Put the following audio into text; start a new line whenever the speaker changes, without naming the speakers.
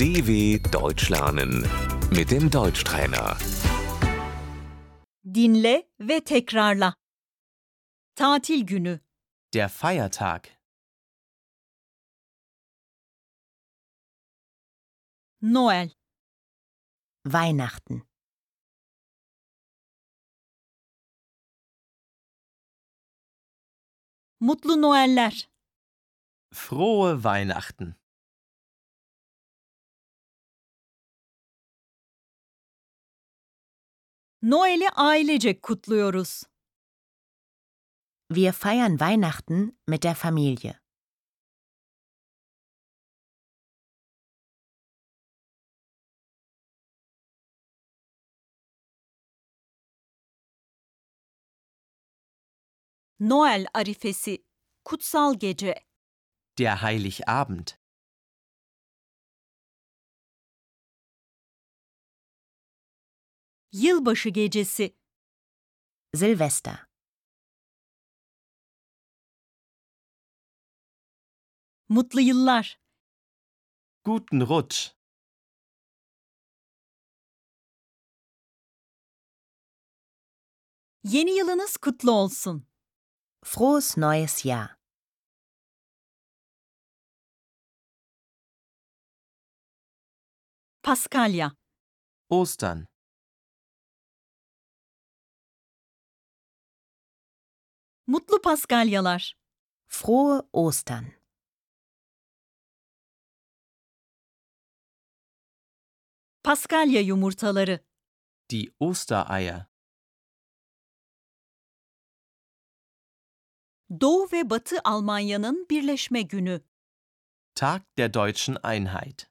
DW Deutsch lernen mit dem Deutschtrainer.
Dinle ve tekrarla. Tatil günü,
Der Feiertag.
Noel,
Weihnachten,
mutlu Noeller,
Frohe Weihnachten.
Noel'i ailecek kutluyoruz.
wir feiern Weihnachten mit der Familie.
Noel arifesi, kutsal gece,
Der Heiligabend.
yılbaşı gecesi,
Silvester,
mutlu yıllar,
Guten Rutsch.
yeni yılınız kutlu olsun.
frohes neues Jahr.
Paskalya,
Ostern.
mutlu Paskalyalar,
Frohe Ostern.
Paskalya yumurtaları,
Die Ostereier.
Doğu ve Batı Almanya'nın birleşme günü.
Tag der deutschen Einheit.